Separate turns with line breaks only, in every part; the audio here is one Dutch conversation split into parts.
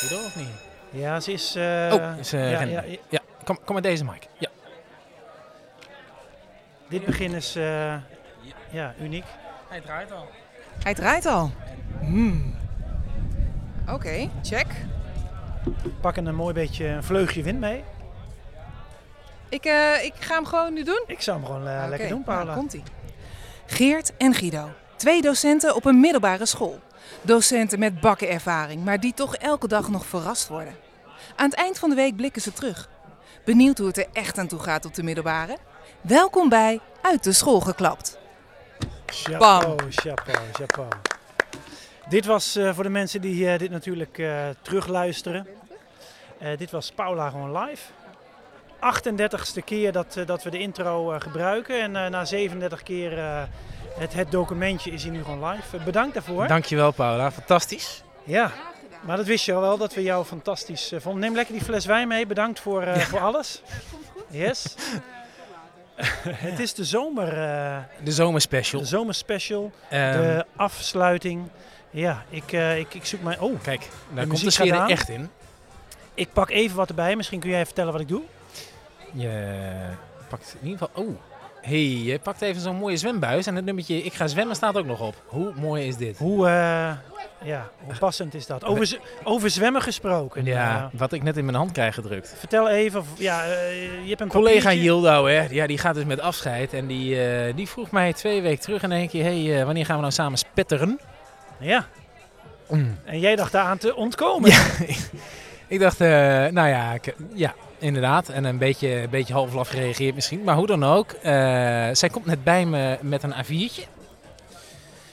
je door of niet?
Ja, ze is... eh,
oh, ze
ja,
rennen.
ja,
Ja, kom, kom met deze mic. Ja.
dit begin is eh, ja, uniek.
Hij draait al.
Hij draait al. Hmm. Oké, check.
Pakken een mooi beetje een vleugje wind mee.
Ik, eh, ik ga hem gewoon nu doen.
Ik zou hem gewoon eh,
Oké,
lekker doen,
nou,
Paula.
komt ie. Geert en Guido. Twee docenten op een middelbare school. Docenten met bakken ervaring, maar die toch elke dag nog verrast worden. Aan het eind van de week blikken ze terug. Benieuwd hoe het er echt aan toe gaat op de middelbare? Welkom bij Uit de School geklapt.
Chapeau, chapeau, chapeau. Dit was eh, voor de mensen die eh, dit natuurlijk eh, terugluisteren. Eh, dit was Paula gewoon live. 38ste keer dat, eh, dat we de intro eh, gebruiken. En eh, na 37 keer eh, het, het documentje is hier nu gewoon live. Eh, bedankt daarvoor.
Dankjewel, Paula. Fantastisch.
Ja, maar dat wist je al wel dat we jou fantastisch eh, vonden. Neem lekker die fles wijn mee. Bedankt voor, eh, voor alles. Yes. het is de zomer, eh,
De zomerspecial.
de zomerspecial.
Ehm,
De afsluiting. Ja, ik, eh, ik, ik zoek mijn. Oh,
Kijk, daar
muziek
komt de
gaat
sfeer
aan.
er echt in.
ik pak even wat erbij. Misschien kun jij vertellen wat ik doe.
Je pakt in ieder geval... Oh, hey, je pakt even zo'n mooie zwembuis. En het nummertje Ik ga zwemmen staat ook nog op. Hoe mooi is dit?
Hoe, eh, ja, hoe passend is dat? Over, z- over zwemmen gesproken.
Eh, Ja,
Eh,
wat ik net in mijn hand krijg gedrukt.
vertel even. of- Ja, eh, je hebt een
Collega
papiertje.
Yildo, hè, ja, die gaat dus met afscheid. En die, eh, die vroeg mij twee weken terug in één keer... hey, eh, wanneer gaan we nou samen spetteren?
Ja,
Mm.
en jij dacht daaraan te ontkomen.
Ik dacht, eh, nou ja, ik- ja, inderdaad. En een beetje, een beetje halflaf gereageerd misschien. Maar hoe dan ook, eh, zij komt net bij me met een A4'tje.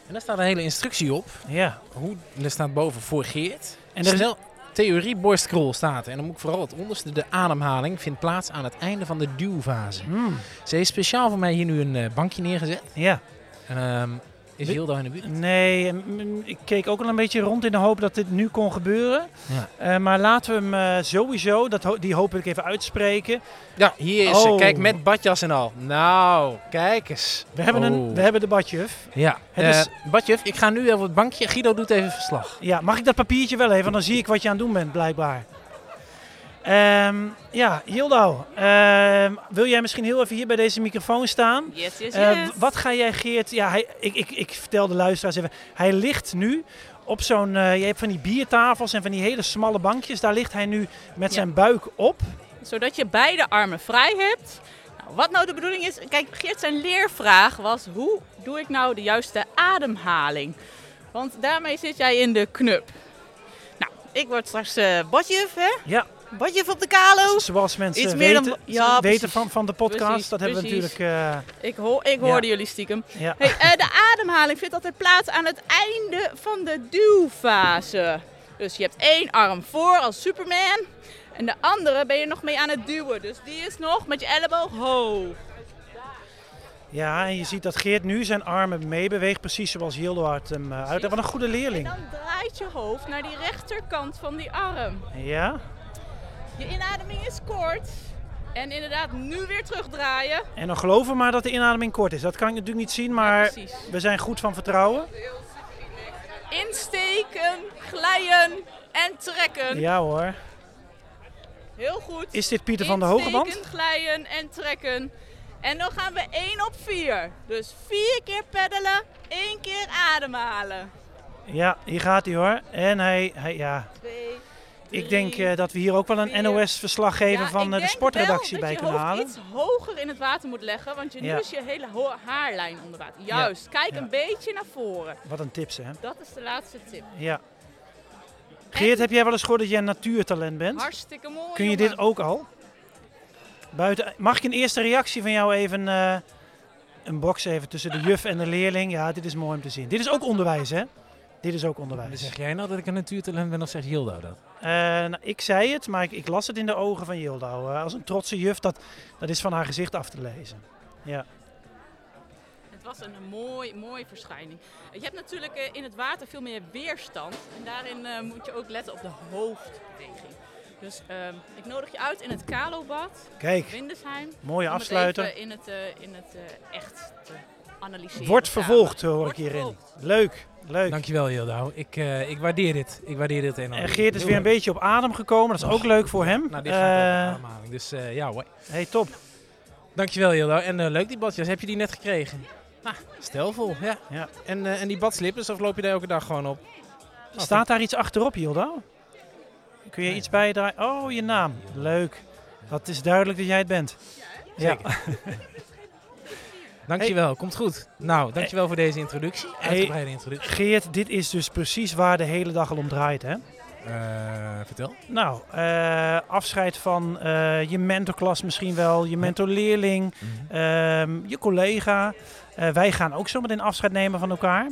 En daar staat een hele instructie op.
Ja.
Hoe, er staat boven voor Geert.
En
En
er is-
Snel, theorie borstkrol staat. er. En dan moet ik vooral het onderste, de ademhaling, vindt plaats aan het einde van de duwfase.
Hmm,
Ze heeft speciaal voor mij hier nu een eh, bankje neergezet.
ja.
En, ehm, is
Wie-
Hilda in de buurt?
Nee, m- m- ik keek ook al een beetje rond in de hoop dat dit nu kon gebeuren.
Ja.
Eh, maar laten we hem eh, sowieso, dat ho- die hoop wil ik even uitspreken.
Ja, hier is ze.
Oh.
Kijk, met badjas en al. Nou, kijk eens.
We hebben, een,
Oh.
we hebben de badjuf.
Ja,
Het
eh,
is-
Badjuf, ik ga nu even op het bankje. Guido doet even verslag.
Ja, mag ik dat papiertje wel even? Want dan zie ik wat je aan het doen bent, blijkbaar. Ehm, ja, Hildo, ehm, wil jij misschien heel even hier bij deze microfoon staan?
Yes, yes,
Eh,
yes.
w- wat ga jij, Geert? Ja, hij, ik, ik, ik vertel de luisteraars even. Hij ligt nu op zo'n. eh, je hebt van die biertafels en van die hele smalle bankjes. Daar ligt hij nu met
Ja.
zijn buik op.
Zodat je beide armen vrij hebt. Nou, wat nou de bedoeling is, kijk, Geert zijn leervraag was: hoe doe ik nou de juiste ademhaling? Want daarmee zit jij in de knup. Nou, ik word straks eh badjuf, hè?
Ja.
Badjuf op de kalo.
Zoals mensen
Oh, Iets meer
weten,
dan- ja,
weten
precies.
van, van de podcast.
Precies,
dat hebben
precies.
we natuurlijk.
Ik, hoor, ik
Ja.
hoorde jullie stiekem.
eh, ja.
Hey, eh, de ademhaling vindt altijd plaats aan het einde van de duwfase. Dus je hebt één arm voor als Superman. En de andere ben je nog mee aan het duwen. Dus die is nog met je elleboog hoog.
ja, en je ziet dat Geert nu zijn armen meebeweegt. Precies zoals Hildo had hem eh, uit. Wat een goede
En
leerling.
dan draait je hoofd naar die rechterkant van die arm.
Ja.
Je inademing is kort. En inderdaad, nu weer terugdraaien.
En dan geloven we maar dat de inademing kort is. Dat kan ik natuurlijk niet zien, maar
precies.
we zijn goed van vertrouwen.
Insteken, glijden en trekken.
Ja hoor.
Heel goed.
Is dit Pieter van de Hogeband?
Insteken, glijden en trekken. En dan gaan we 1 op 4. Dus 4 keer peddelen, 1 keer ademhalen.
Ja, hier gaat hij hoor. En hij, hij ja.
2.
Ik denk eh, dat we hier ook wel een
vier.
NOS-verslag geven van eh, de sportredactie bij kunnen halen.
Dat je hoofd iets hoger in het water moet leggen, want je,
Ja.
nu is je hele ho- haarlijn onder water. Juist, kijk
Ja.
een beetje naar voren.
Wat een tips hè.
Dat is de laatste tip.
Ja. Geert, heb jij wel eens gehoord dat jij een natuurtalent bent?
Hartstikke mooi.
Kun je
jongen.
dit ook al? Buiten, mag ik een eerste reactie van jou even, eh, een box even tussen de juf en de leerling? Ja, dit is mooi om te zien. Dit is ook onderwijs hè? Dit is ook onderwijs.
Zeg jij nou dat ik een natuurtalent ben of zegt Hildo dat?
Eh, nou, ik zei het, maar ik, ik las het in de ogen van Yildo. Eh, als een trotse juf, dat, dat is van haar gezicht af te lezen.
Het was een mooi, mooi verschijning. Je hebt natuurlijk eh, in het water veel meer weerstand. En daarin eh, moet je ook letten op de hoofdbeweging. Dus ehm, ik nodig je uit in het Kalobad,
Kijk,
Windesheim.
mooie
om het
afsluiter.
even in het, eh, in het eh, echt te analyseren.
Wordt
samen.
vervolgd, hoor ik
Wordt
hierin.
vervolgd.
Leuk, leuk.
Dankjewel Jildau. Ik, eh, ik waardeer dit. Ik waardeer dit enorm.
En Geert is
Heel
weer een
leuk.
beetje op adem gekomen. Dat is ook leuk voor hem.
Nou, dit
Eh,
gaat over de ademhaling. Dus eh, ja hoor.
hey, top.
Dankjewel Jildau. En eh, leuk die badjas. Heb je die net gekregen? Nou, stelvol. Ja.
Ja.
En, eh, en die badslippers of loop je daar elke dag gewoon op?
Staat daar iets achterop, Hilda? Kun je
Nee.
iets bijdragen? Oh, je naam. Leuk. Dat is duidelijk dat jij het bent. Ja.
Zeker. Dankjewel, komt goed. Nou, dankjewel voor deze introductie. Uitgebreide introductie.
Geert, dit is dus precies waar de hele dag al om draait, hè?
Eh, vertel.
Nou, eh, afscheid van eh, je mentorklas misschien wel, je mentorleerling,
Mhm.
ehm, je collega. Eh, wij gaan ook zometeen afscheid nemen van elkaar.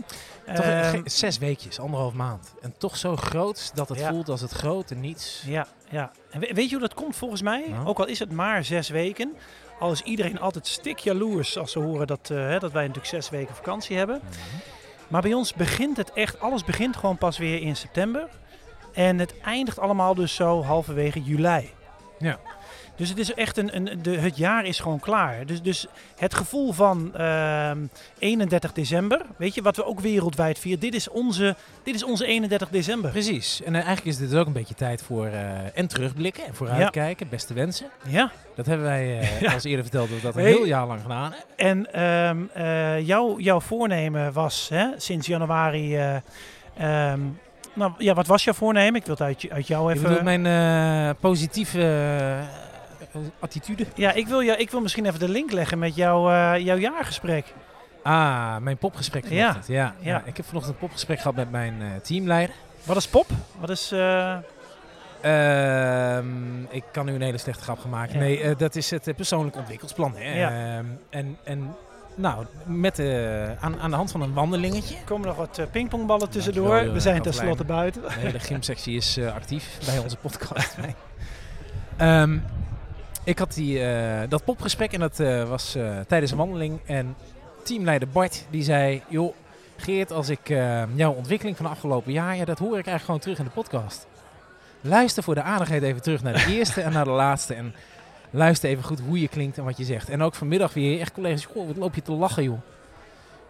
Toch een-
Ehm,
ge- zes weekjes, anderhalf maand. En toch zo groot dat het
Ja.
voelt als het grote niets.
Ja, ja. En we- weet je hoe dat komt volgens mij?
Nou?
Ook al is het maar zes weken. Al is iedereen altijd stikjaloers als ze horen dat, eh, hè, dat wij natuurlijk zes weken vakantie hebben. Maar bij ons begint het echt, alles begint gewoon pas weer in september. En het eindigt allemaal dus zo halverwege juli.
Ja.
Dus het is echt een, een de, het jaar is gewoon klaar. Dus, dus het gevoel van ehm, 31 december, weet je, wat we ook wereldwijd vieren. Dit is onze, dit is onze 31 december.
Precies. En eh, eigenlijk is dit dus ook een beetje tijd voor eh, en terugblikken en vooruitkijken. Beste wensen.
Ja.
Dat hebben wij eh,
Ja.
als eerder verteld dat we dat een
Nee.
heel jaar lang gedaan hebben.
En ehm, eh, jouw, jouw voornemen was hè, sinds januari. eh, ehm, nou ja, wat was jouw voornemen? Ik wil het uit, je- uit jou
Ik
even.
bedoel, mijn eh, positieve eh, attitude.
Ja, ik wil, jou, ik wil misschien even de link leggen met jouw, eh, jouw jaargesprek.
Ah, mijn popgesprek
Ja.
vanochtend. Ja. Ja.
Ja.
Ik heb vanochtend een popgesprek gehad met mijn eh, teamleider.
Wat is pop? Wat is. eh,
Ehm, ik kan nu een hele slechte grap gaan maken.
Ja.
Nee, eh, dat is het eh, persoonlijk ontwikkelsplan. Hè.
Ja.
Ehm, en, en nou, met, eh, aan, aan de hand van een wandelingetje.
er komen nog wat eh, pingpongballen tussendoor.
Dankjewel, eh,
We zijn
Jurgen
tenslotte buiten.
De hele gymsectie is eh, actief bij onze podcast. Nee. Ehm, ik had die, eh, dat popgesprek en dat eh, was eh, tijdens een wandeling. En teamleider Bart die zei, joh Geert, als ik eh, jouw ontwikkeling van de afgelopen jaar, ja, dat hoor ik eigenlijk gewoon terug in de podcast. Luister voor de aardigheid even terug naar de eerste en naar de laatste. En luister even goed hoe je klinkt en wat je zegt. En ook vanmiddag weer, echt collega's, goh, wat loop je te lachen joh.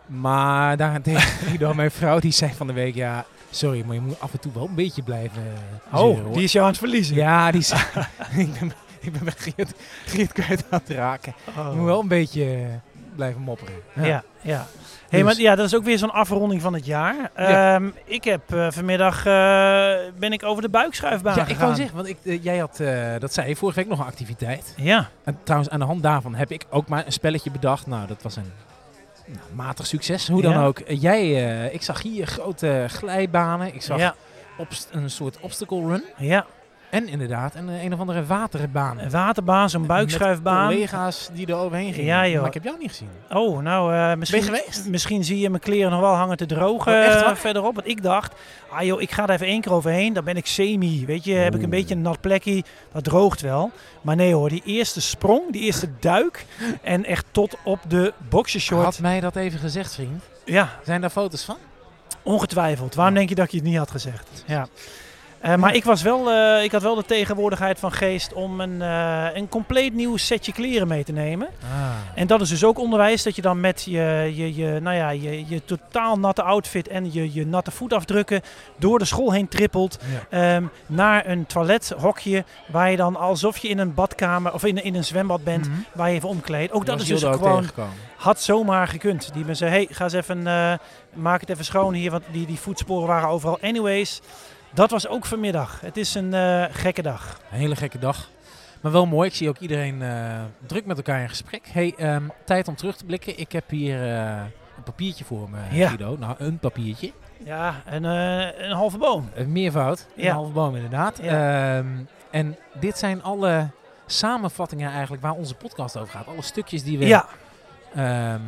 Maar daarentegen, Guido, mijn vrouw, die zei van de week, ja, sorry, maar je moet af en toe wel een beetje blijven eh, zeuren,
Oh,
hoor."
die is jou aan het verliezen.
Ja, die zei, ik ben, ik ben bij Geert, Geert kwijt aan het raken.
Oh.
Ik moet wel een beetje eh, blijven mopperen.
Ja, ja. Hey,
Dus-
maar, ja, dat is ook weer zo'n afronding van het jaar.
Ja.
Ehm, ik heb eh, vanmiddag eh, ben ik over de buikschuifbaan
Ja, ik
gegaan.
wou zeggen, want ik, eh, jij had, eh, dat zei je, vorige week nog een activiteit.
Ja,
En trouwens, aan de hand daarvan heb ik ook maar een spelletje bedacht. Nou, dat was een nou, matig succes. Hoe dan
Ja.
ook. Eh, Jij, eh, ik zag hier grote glijbanen. Ik zag
ja,
obst- een soort obstacle run.
ja.
En inderdaad, een, een of andere waterbaan.
Een waterbaan, zo'n
Met
buikschuifbaan.
collega's die er overheen gingen.
Ja, joh.
Maar ik heb jou niet gezien.
Oh, nou, eh, misschien,
Ben je geweest?
misschien zie je mijn kleren nog wel hangen te drogen
Oh, echt
eh,
waar?
verderop. Want ik dacht, ah joh, ik ga er even één keer overheen. Dan ben ik semi, weet je. Heb ik een
Oeh.
beetje een nat plekje. Dat droogt wel. Maar nee hoor, die eerste sprong, die eerste duik. En echt tot op de boxershort.
Had mij dat even gezegd, vriend.
Ja,
Zijn daar foto's van?
ongetwijfeld. Waarom denk je dat ik je het niet had gezegd? Ja. Eh, maar ik, was wel, eh, ik had wel de tegenwoordigheid van geest om een, eh, een compleet nieuw setje kleren mee te nemen.
Ah,
En dat is dus ook onderwijs, dat je dan met je, je, je, nou ja, je, je totaal natte outfit en je, je natte voetafdrukken door de school heen trippelt
Ja.
ehm, naar een toilethokje waar je dan alsof je in een badkamer of in, in een zwembad bent,
Mhm.
waar Hmm. je even omkleedt. Ook dat
Was
is dus
Hilda ook
gewoon,
tegengekomen.
had zomaar gekund. Die mensen, hey, ga eens even, eh, maak het even schoon hier, want die, die voetsporen waren overal. Anyways, dat was ook vanmiddag. Het is een eh, gekke dag.
Een hele gekke dag. Maar wel mooi. Ik zie ook iedereen eh, druk met elkaar in gesprek. Hey, ehm, tijd om terug te blikken. Ik heb hier eh, een papiertje voor me,
Ja.
Guido. Nou, een papiertje.
Ja, een, eh, een halve boom.
Een meervoud. Een
Ja.
halve boom inderdaad. Ehm, en dit zijn alle samenvattingen eigenlijk waar onze podcast over gaat. Alle stukjes die we
Ja,
ehm,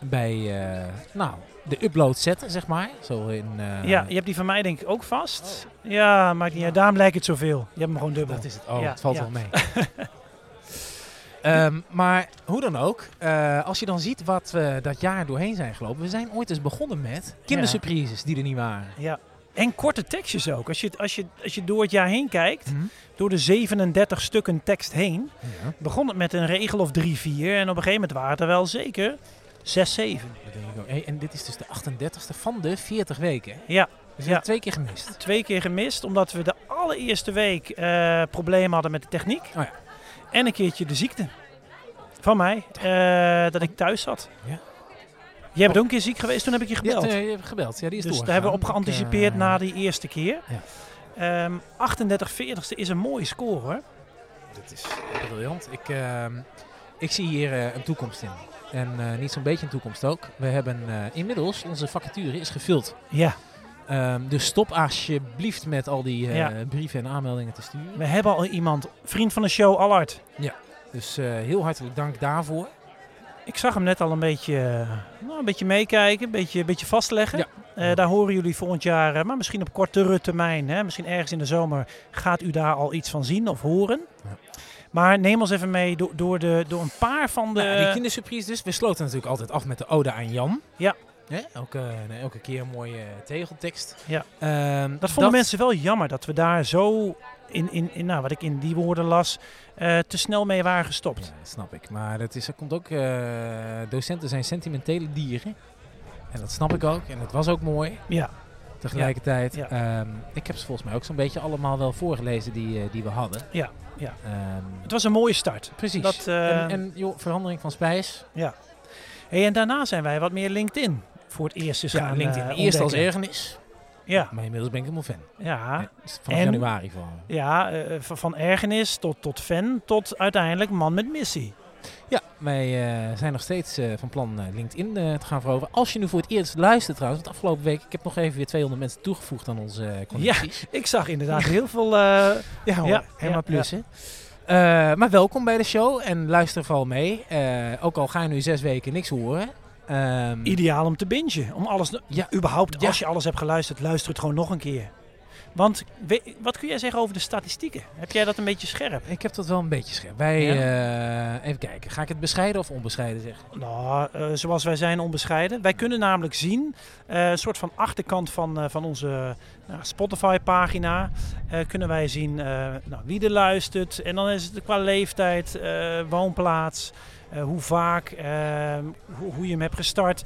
bij eh, nou, de upload zetten, zeg maar. Zo in, eh, oh.
Ja, je hebt die van mij denk ik ook vast. Ja, maakt niet uit. Daarom lijkt het zoveel. Je hebt hem gewoon dubbel.
Dat is het. Oh,
Ja,
het valt
ja.
wel mee. Ehm, maar hoe dan ook, eh, als je dan ziet wat we dat jaar doorheen zijn gelopen. We zijn ooit eens begonnen met kindersurprises die er niet waren.
Ja. En korte tekstjes ook. Als je, als, je, als je door het jaar heen kijkt,
Mhm.
door de 37 stukken tekst heen, begon het met een regel of drie, vier. En op een gegeven moment waren het er wel zeker 6, 7.
Dat denk ik ook. Hey, en dit is dus de 38e van de 40 weken. hè?
Ja,
Dus je hebt
Ja.
twee keer gemist.
twee keer gemist, omdat we de allereerste week eh, problemen hadden met de techniek.
Oh ja.
En een keertje de ziekte van mij, eh, dat ik thuis zat.
Ja. Oh.
Jij bent ook een keer ziek geweest, toen heb ik je gebeld.
Je hebt, eh, je hebt gebeld. Ja, die is
dus daar
doorgegaan.
hebben we op
Ik, eh,
geanticipeerd na die eerste keer.
Ja.
Ehm 38-40ste is een mooie score hoor.
Dat is briljant. Ik, ehm, ik zie hier eh, een toekomst in. En eh, niet zo'n beetje een toekomst ook. We hebben eh, inmiddels, onze vacature is gevuld.
Ja,
Ehm, dus stop alsjeblieft met al die eh,
Ja.
brieven en aanmeldingen te sturen.
we hebben al iemand, vriend van de show, Allard.
Dus eh, heel hartelijk dank daarvoor.
Ik zag hem net al een beetje, eh, nou, een beetje meekijken, een beetje, een beetje vastleggen.
Ja.
Eh, daar horen jullie volgend jaar, eh, maar misschien op kortere termijn, hè, misschien ergens in de zomer, gaat u daar al iets van zien of horen.
Ja.
Maar neem ons even mee do- door, de, door een paar van de...
Nou, die kindersurprise dus. We sloten natuurlijk altijd af met de ode aan Jan.
Ja.
Hè? Elke, nee, elke keer een mooie eh, tegeltekst.
Ja.
Ehm,
dat vonden mensen wel jammer, dat we daar zo, in, in, in, nou, wat ik in die woorden las, eh, te snel mee waren gestopt.
Ja, dat snap ik. Maar dat, is, dat komt ook... eh, docenten zijn sentimentele dieren. En dat snap ik ook. En dat was ook mooi.
Ja,
Tegelijkertijd.
Ja,
ehm, ik heb ze volgens mij ook zo'n beetje allemaal wel voorgelezen die, eh, die we hadden.
Ja, ja.
Ehm,
het was een mooie start.
precies.
dat, eh,
en en joh, verandering van spijs.
Hey, en daarna zijn wij wat meer LinkedIn voor het eerst is
Ja,
gaan
LinkedIn
eh,
eerst als
ontdekken.
ergernis.
Ja,
Maar inmiddels ben ik helemaal fan.
ja.
Ja, dus vanaf
en-
januari vooral.
Ja, eh, van van ergernis tot, tot fan, tot uiteindelijk man met missie.
Ja, wij eh, zijn nog steeds eh, van plan eh, LinkedIn eh, te gaan veroveren. Als je nu voor het eerst luistert trouwens, want afgelopen week, ik heb nog even weer 200 mensen toegevoegd aan onze eh, connecties.
Ik zag inderdaad heel veel... eh,
Ja, hoor,
Ja,
helemaal
ja,
plus hè. Eh, maar welkom bij de show en luister vooral mee. Eh, ook al ga je nu zes weken niks horen. Ehm,
ideaal om te bingen. Om alles,
Ja.
ja. überhaupt,
Ja.
als je alles hebt geluisterd, luister het gewoon nog een keer. Want we- wat kun jij zeggen over de statistieken? Heb jij dat een beetje scherp?
ik heb dat wel een beetje scherp. Wij, eh, even kijken, ga ik het bescheiden of onbescheiden zeggen?
Nou, eh, zoals wij zijn onbescheiden. Wij kunnen namelijk zien, eh, een soort van achterkant van, eh, van onze nou, Spotify-pagina, eh, kunnen wij zien eh, nou, wie er luistert. En dan is het qua leeftijd, eh, woonplaats, eh, hoe vaak, eh, hoe, hoe je hem hebt gestart.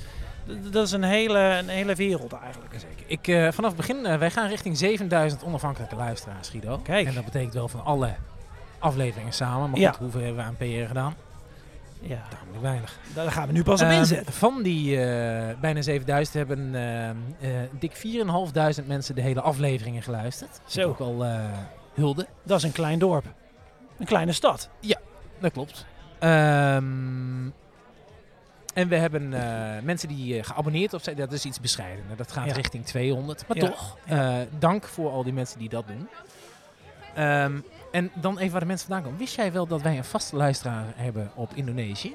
D- dat is een hele, een hele wereld eigenlijk.
Zeker. Ik, eh, vanaf het begin, eh, wij gaan richting 7000 onafhankelijke luisteraars, Guido.
Kijk.
En dat betekent wel van alle afleveringen samen. Maar
Ja.
goed, hoeveel hebben we aan PR gedaan?
Ja,
Tamelijk weinig.
daar gaan we nu pas op
Ehm,
inzetten.
Van die eh, bijna 7000 hebben ehm eh dik 4.500 mensen de hele afleveringen geluisterd.
Zo.
Ook al eh, hulde.
Dat is een klein dorp. Een kleine stad.
Dat klopt. Ehm, en we hebben eh, mensen die eh, geabonneerd op zijn. Dat is iets bescheidener. Dat gaat
Ja.
richting 200. Maar
Ja.
toch, eh, dank voor al die mensen die dat doen. Ehm, en dan even waar de mensen vandaan komen. Wist jij wel dat wij een vaste luisteraar hebben op Indonesië?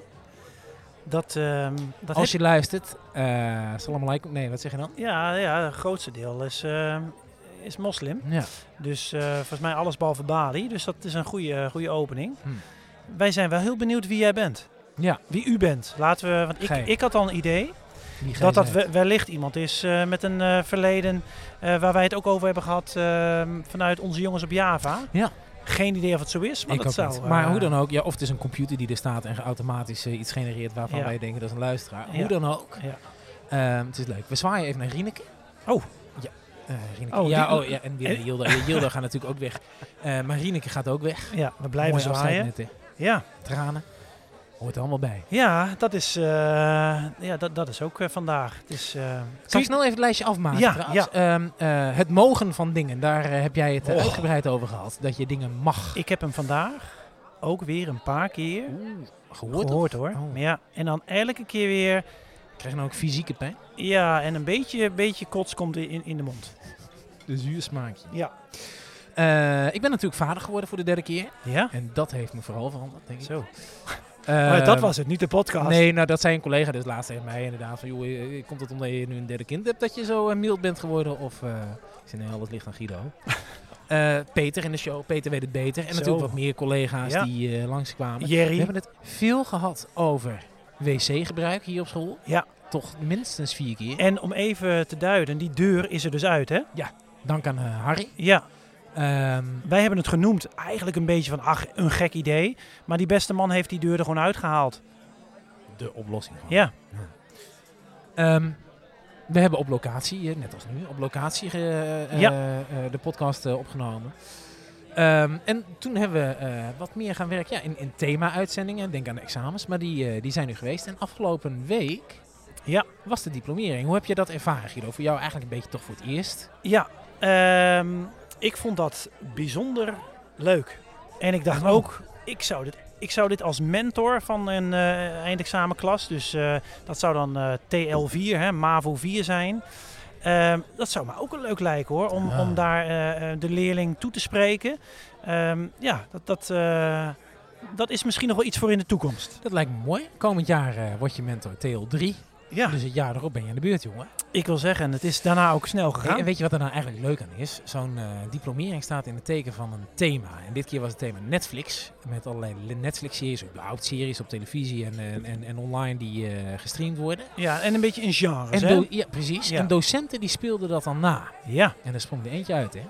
Dat, ehm, dat
Als je luistert, eh salam alaikum. Nee, wat zeg je dan?
Ja, ja, het grootste deel is, ehm, is moslim.
Ja.
Dus eh, volgens mij alles behalve Bali. Dus dat is een goede, goede opening.
Hmm.
Wij zijn wel heel benieuwd wie jij bent.
Ja.
Wie u bent. Laten we, want ik,
Gij.
ik had al een idee
die
dat dat
grijze-
we- wellicht iemand is eh, met een eh, verleden eh, waar wij het ook over hebben gehad ehm, vanuit onze jongens op Java.
Ja.
Geen idee of het zo is, maar
Ik
dat
ook
zou...
niet. Maar
eh,
hoe dan ook, ja, of het is een computer die er staat en automatisch eh, iets genereert waarvan
Ja.
wij denken dat is een luisteraar.
Ja.
Hoe dan ook.
Ja.
Ehm, het is leuk. We zwaaien even naar Rieneke.
Oh.
Ja, eh, Rieneke.
Oh,
ja,
die-
oh, ja, en weer Jilda. Ja, Jilda gaat natuurlijk ook weg. Eh, maar Rieneke gaat ook weg.
Ja, we blijven
Mooi afscheid
zwaaien.
net, hè.
Ja.
Tranen. Hoort er allemaal bij.
Ja, dat is, eh, ja, dat, dat is ook eh, vandaag. Het is, eh,
Zal ik snel even het lijstje afmaken
Ja,
trouwens? Ehm, eh, het mogen van dingen, daar eh, heb jij het eh,
Oh.
uitgebreid over gehad. Dat je dingen mag.
ik heb hem vandaag ook weer een paar keer
Oeh, gehoord?
gehoord,
of?
hoor.
Oh.
Maar Ja, en dan elke keer weer,
Krijg je nou ook fysieke pijn?
ja, en een beetje, beetje kots komt in, in de mond.
De zuursmaakje.
Ja.
Eh, ik ben natuurlijk vader geworden voor de derde keer.
Ja,
En dat heeft me vooral veranderd, denk ik.
zo.
Eh,
maar dat was het, niet de podcast.
Nee, nou dat zei een collega dus laatst tegen mij inderdaad. Van, joh, eh, komt het omdat je nu een derde kind hebt dat je zo eh, mild bent geworden? Of, eh ik zei nee, alles ligt aan Guido. Eh, Peter in de show, Peter weet het beter. En
Zo.
natuurlijk wat meer collega's
Ja.
die eh, langs langskwamen. We
Jerry.
hebben het veel gehad over wc-gebruik hier op school.
Ja.
Toch minstens vier keer.
En om even te duiden, die deur is er dus uit, hè?
Dank aan eh, Harry.
Ja,
Ehm,
wij hebben het genoemd eigenlijk een beetje van, ach, een gek idee. Maar die beste man heeft die deur er gewoon uitgehaald.
de oplossing. van.
Ja.
Ehm, we hebben op locatie, eh, net als nu, op locatie eh, eh,
Ja.
eh, de podcast eh, opgenomen. Ehm, en toen hebben we eh, wat meer gaan werken ja, in, in thema-uitzendingen. Denk aan de examens, maar die, eh, die zijn nu geweest. En afgelopen week
Ja.
was de diplomering. Hoe heb je dat ervaren, Guido? Voor jou eigenlijk een beetje toch voor het eerst?
Ja, ehm, ik vond dat bijzonder leuk. En ik dacht ook, ik zou dit, ik zou dit als mentor van een eh, eindexamenklas, dus eh, dat zou dan eh, TL4, hè, MAVO 4 zijn. Ehm, dat zou me ook wel leuk lijken hoor, om,
Ah.
om daar eh, eh, de leerling toe te spreken. Ehm, ja, dat, dat, eh, dat is misschien nog wel iets voor in de toekomst.
Dat lijkt me mooi. Komend jaar eh, word je mentor TL3.
Ja,
Dus het jaar erop ben je aan de beurt, jongen.
ik wil zeggen, het is daarna ook snel
Hey,
gegaan.
en weet je wat er nou eigenlijk leuk aan is? Zo'n eh, diplomering staat in het teken van een thema. En dit keer was het thema Netflix. Met allerlei Netflix-series, überhaupt series op televisie en, en, en, en online die eh, gestreamd worden.
Ja, en een beetje in genres.
En
hè?
do- ja, precies.
Ja.
En docenten die speelden dat dan na.
Ja.
En er sprong er eentje uit, hè?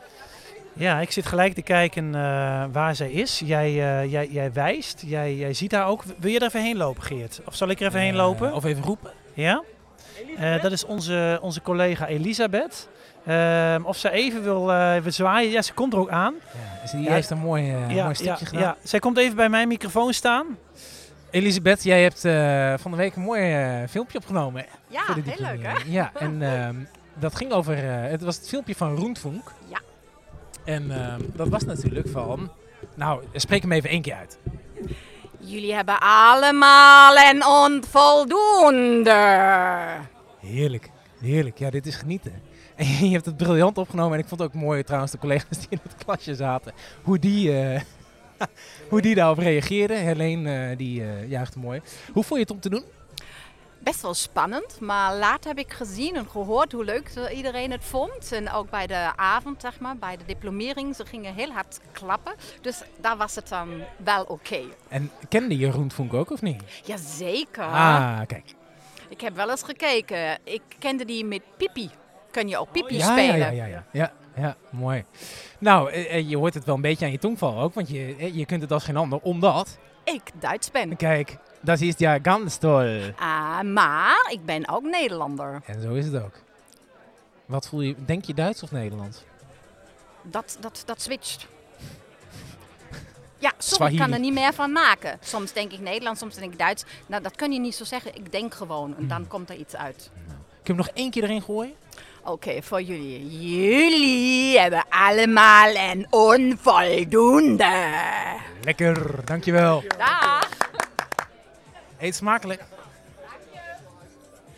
Ja, ik zit gelijk te kijken eh, waar zij is. Jij, eh, jij, jij wijst, jij, jij ziet haar ook. Wil je er even heen lopen, Geert? Of zal ik er even heen
Eh,
lopen?
of even roepen.
Ja? Eh, dat is onze, onze collega Elisabeth. Ehm, of zij even wil, eh, wil zwaaien. Ja, ze komt er ook aan.
Ja, dus die
Ja,
heeft een mooi, eh,
ja,
mooi stukje
ja,
gedaan.
ja. Zij komt even bij mijn microfoon staan.
Elisabeth, jij hebt eh, van de week een mooi eh, filmpje opgenomen. Hè,
Ja,
voor de
Ah, heel leuk hè?
diplomering. eh, Ja, en ehm, dat ging over... eh, het was het filmpje van Roentvonk.
Ja.
En ehm, dat was natuurlijk van... Nou, spreek hem even één keer uit.
Jullie hebben allemaal een onvoldoende.
Heerlijk, heerlijk. Ja, dit is genieten. En je hebt het briljant opgenomen. En ik vond het ook mooi trouwens, de collega's die in het klasje zaten. Hoe die, eh, hoe die daarop reageerden. Helene, eh, die eh juichte mooi. Hoe vond je het om te doen?
Best wel spannend, maar later heb ik gezien en gehoord hoe leuk eh, iedereen het vond. En ook bij de avond, zeg maar, bij de diplomering, ze gingen heel hard klappen. Dus daar was het dan wel oké.
En kende je Roentvonk ook of niet?
Jazeker.
Ah, kijk.
Ik heb wel eens gekeken. Ik kende die met Pipi. Kun je ook Pipi
Oh, ja, ja,
spelen?
ja, ja, ja, ja, ja, mooi. Nou, eh, eh, je hoort het wel een beetje aan je tongval ook, want je, eh, je kunt het als geen ander, omdat,
Ik Duits ben.
kijk, dat is ja ganz toll.
Ah, maar ik ben ook Nederlander.
En zo is het ook. Wat voel je, denk je Duits of Nederlands?
Dat, dat, dat switcht. Ja, soms
Swahili.
kan er niet meer van maken. Soms denk ik Nederlands, soms denk ik Duits. Nou, dat kun je niet zo zeggen. Ik denk gewoon en dan komt er iets uit.
Kun je hem nog één keer erin gooien?
Oké, voor jullie. Jullie hebben allemaal een onvoldoende.
Lekker, dankjewel.
Dag.
Eet smakelijk.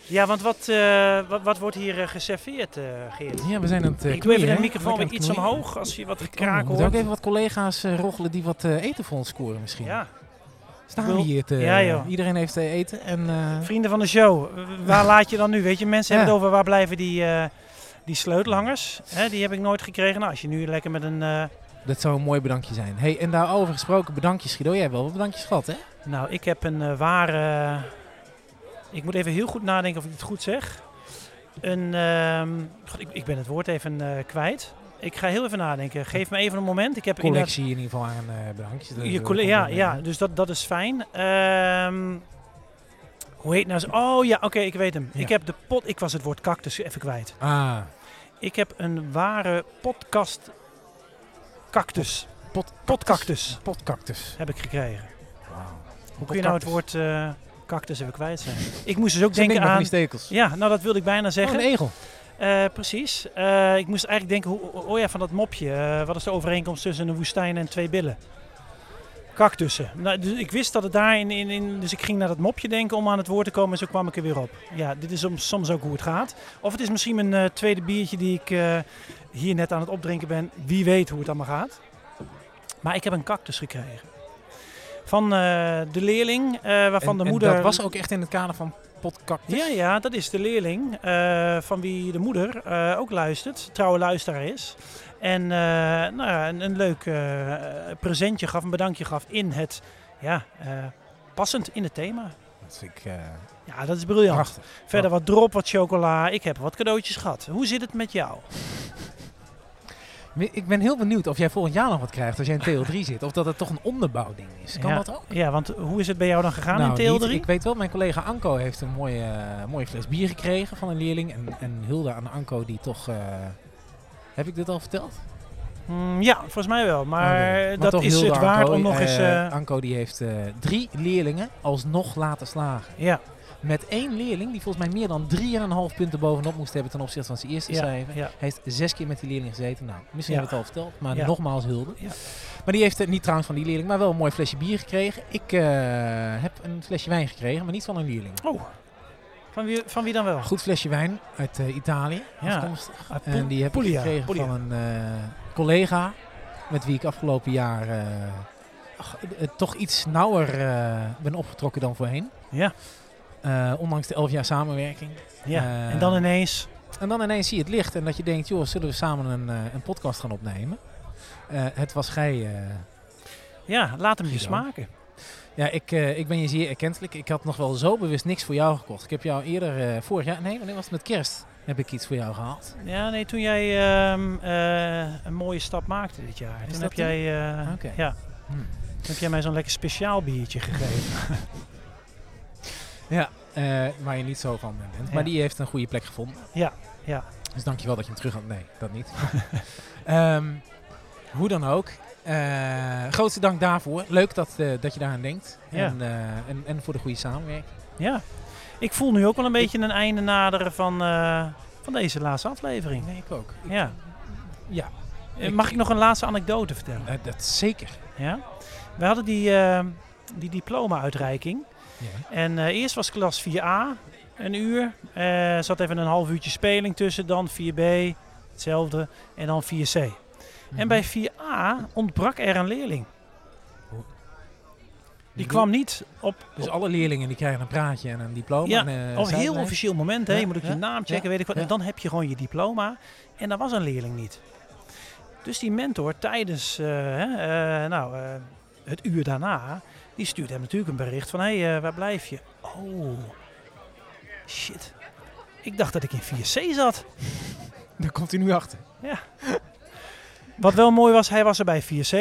Ja, want wat, eh, wat, wat wordt hier eh, geserveerd, eh, Geert?
Ja, we zijn aan het eh,
ik doe even
knoeien,
de
hè?
microfoon
Lekker
weer
aan het
iets
knoeien.
omhoog als je wat
Oh, we
gekraak
moeten ook
hoort.
even wat collega's eh, roggelen die wat eh, eten voor ons scoren misschien.
Ja.
Staan we
Wil-
hier te...
Ja, joh.
Iedereen heeft eh, eten en... eh,
Vrienden van de show, eh, waar laat je dan nu? Weet je, mensen
Ja.
hebben het over waar blijven die, eh, die sleutelhangers. Hè, die heb ik nooit gekregen. Nou, als je nu lekker met een... eh,
Dat zou een mooi bedankje zijn. Hey, en daarover gesproken, bedankjes Guido. Jij hebt wel wat bedankjes gehad, hè?
nou, ik heb een eh, ware... Ik moet even heel goed nadenken of ik het goed zeg. Een, ehm, god, ik, ik ben het woord even eh, kwijt. Ik ga heel even nadenken. Geef me even een moment. Ik heb inderdaad-
Collectie in ieder geval aan eh, bedankjes. Dat
Je
wil
colle-
ik
ja,
wel, eh,
ja, dus dat, dat is fijn. Ehm, hoe heet nou? zo- Oh ja, oké, ik weet hem.
Ja.
Ik heb de pot. Ik was het woord cactus even kwijt.
Ah,
Ik heb een ware podcast cactus.
Pot-
Potcactus
potcactus.
heb ik gekregen.
Wauw.
Hoe kun je nou het woord eh, cactus even kwijt zijn? Ik moest dus ook
Zo'n ding
denken
met van
aan...
die stekels.
Ja, nou dat wilde ik bijna
Oh,
zeggen.
een egel.
Eh, precies. Eh, ik moest eigenlijk denken, hoe- oh ja, van dat mopje. eh, wat is de overeenkomst tussen een woestijn en twee billen? Kaktussen. Nou, dus ik wist dat het daarin in, in. Dus ik ging naar dat mopje denken om aan het woord te komen en zo kwam ik er weer op. Ja, dit is soms, soms ook hoe het gaat. Of het is misschien mijn eh, tweede biertje die ik eh, hier net aan het opdrinken ben. Wie weet hoe het allemaal gaat. Maar ik heb een cactus gekregen. Van eh, de leerling, eh, waarvan
En-
de
en
moeder.
dat was ook echt in het kader van potcactus.
Ja, ja, dat is de leerling eh, van wie de moeder eh, ook luistert, trouwe luisteraar is. En eh, nou, ja, een, een leuk eh, presentje gaf, een bedankje gaf in het, ja, eh, passend in het thema.
Dat vind ik eh,
Ja, dat is briljant.
prachtig.
Verder wat drop, wat chocola. Ik heb wat cadeautjes gehad. Hoe zit het met jou?
Ik ben heel benieuwd of jij volgend jaar nog wat krijgt als jij in TL3 zit. Of dat het toch een onderbouwding is. Kan
ja.
dat ook?
Ja, want hoe is het bij jou dan gegaan
Nou,
in
niet.
TL3?
Ik weet wel, mijn collega Anko heeft een mooie, eh, mooie fles bier gekregen van een leerling. En, en hulde aan Anko die toch... eh, heb ik dit al verteld?
Mm, ja, volgens mij wel. Maar
Oké. Oh, Maar
dat
toch
is
hulde
het
aan
waard
Anko.
om nog
Eh,
eens... eh,
Anko die heeft eh, drie leerlingen alsnog laten slagen.
ja,
Met één leerling die volgens mij meer dan 3,5 punten bovenop moest hebben ten opzichte van zijn eerste
ja,
cijfer.
ja.
Hij heeft zes keer met die leerling gezeten. Nou, misschien
Ja.
hebben we het al verteld, maar
Ja.
nogmaals hulde.
Ja.
Maar die heeft eh, niet trouwens van die leerling, maar wel een mooi flesje bier gekregen. Ik eh, heb een flesje wijn gekregen, maar niet van een leerling.
Oh, van wie, van wie dan wel?
Een goed flesje wijn uit eh, Italië,
Ja.
afkomstig.
Ah, Pol-
En Eh, die heb ik
Puglia,
gekregen
Puglia.
van een eh, collega met wie ik afgelopen jaar eh, ach, eh, toch iets nauwer eh, ben opgetrokken dan voorheen.
Ja,
Eh, ondanks de elf jaar samenwerking.
ja.
Eh,
en dan ineens...
En dan ineens zie je het licht en dat je denkt, joh, zullen we samen een, eh, een podcast gaan opnemen? Eh, het was gij. eh.
Ja, laat hem je
Guido.
smaken.
ja, ik, eh, ik ben je zeer erkentelijk. Ik had nog wel zo bewust niks voor jou gekocht. Ik heb jou eerder, eh, vorig jaar, nee, wanneer was het met kerst, heb ik iets voor jou gehaald.
Ja, nee, toen jij ehm, eh, een mooie stap maakte dit jaar. toen
dat
heb
toen?
jij, eh,
Oké.
ja,
Hmm.
toen heb jij mij zo'n lekker speciaal biertje gegeven.
Ja, eh, waar je niet zo van bent. Maar
Ja.
die heeft een goede plek gevonden.
Ja, ja.
Dus dankjewel dat je hem terug had. Nee, dat niet. Ehm, hoe dan ook. eh, grootste dank daarvoor. Leuk dat, eh, dat je daaraan denkt.
Ja.
En, eh, en, en voor de goede samenwerking.
ja, ik voel nu ook wel een beetje een einde naderen van, eh, van deze laatste aflevering.
Nee, ik ook. Ik-
Ja.
Ja.
Eh, Mag ik nog een laatste anekdote vertellen?
Eh, dat zeker.
Ja. We hadden die, eh, die diploma-uitreiking.
Ja.
En eh, eerst was klas 4a een uur. Eh zat even een half uurtje speling tussen. Dan 4b, hetzelfde. En dan 4c. En bij 4a ontbrak er een leerling. Die kwam niet op.
Mhm. Dus alle leerlingen die krijgen een praatje en een diploma.
Ja,
en, eh,
Op een heel
zijlijn.
officieel moment, hè.
Ja,
je moet ook
ja,
je naam checken,
ja,
weet ik wat.
ja.
En dan heb je gewoon je diploma. En daar was een leerling niet. Dus die mentor tijdens eh, hè, eh, nou, eh, het uur daarna, die stuurt hem natuurlijk een bericht van... Hé, hey, eh, waar blijf je? Oh, shit. Ik dacht dat ik in 4C zat.
Daar komt hij nu achter.
Wat wel mooi was, hij was er bij 4C.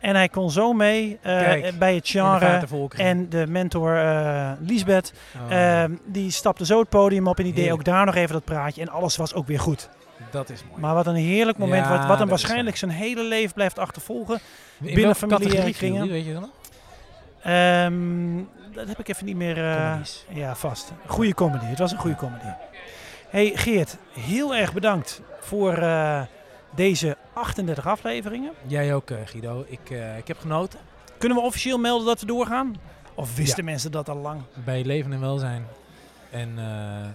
En hij kon zo mee eh,
Kijk,
bij het
In de
genre...
vaartenvolkeren.
En de mentor eh Liesbeth
Oh,
Ehm, die stapte zo het podium op en die deed
Heerlijk.
ook daar nog even dat praatje. En alles was ook weer goed.
dat is mooi.
Maar wat een heerlijk moment.
Ja,
wat, wat
dat
hem
is
waarschijnlijk zijn hele leven blijft achtervolgen. binnen
welke
familiaire
categorie viel
kringen.
die, Weet je dan?
Ehm, dat heb ik even niet meer eh,
Comedies.
ja, vast. Goede comedy. Het was een goede comedy. Hey Geert, heel erg bedankt voor eh, deze 38 afleveringen.
Jij ook, eh, Guido. Ik, eh, ik heb genoten.
Kunnen we officieel melden dat we doorgaan? Of wisten
Ja.
mensen dat al lang?
Bij leven en welzijn. En eh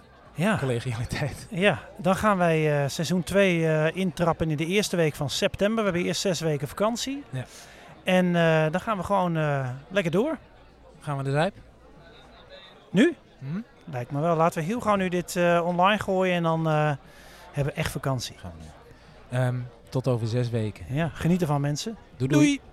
Ja.
collegialiteit.
Ja, dan gaan wij eh, seizoen 2 intrappen in de eerste week van september. We hebben eerst zes weken vakantie.
Ja.
En eh, dan gaan we gewoon eh, lekker door.
Gaan we de zuip?
Nu?
Hm?
Lijkt me wel. Laten we heel gauw nu dit eh, online gooien en dan eh, hebben we echt vakantie.
Gaan we doen. Ehm, tot over zes weken.
Ja, geniet ervan mensen.
Doei doei.
Doei.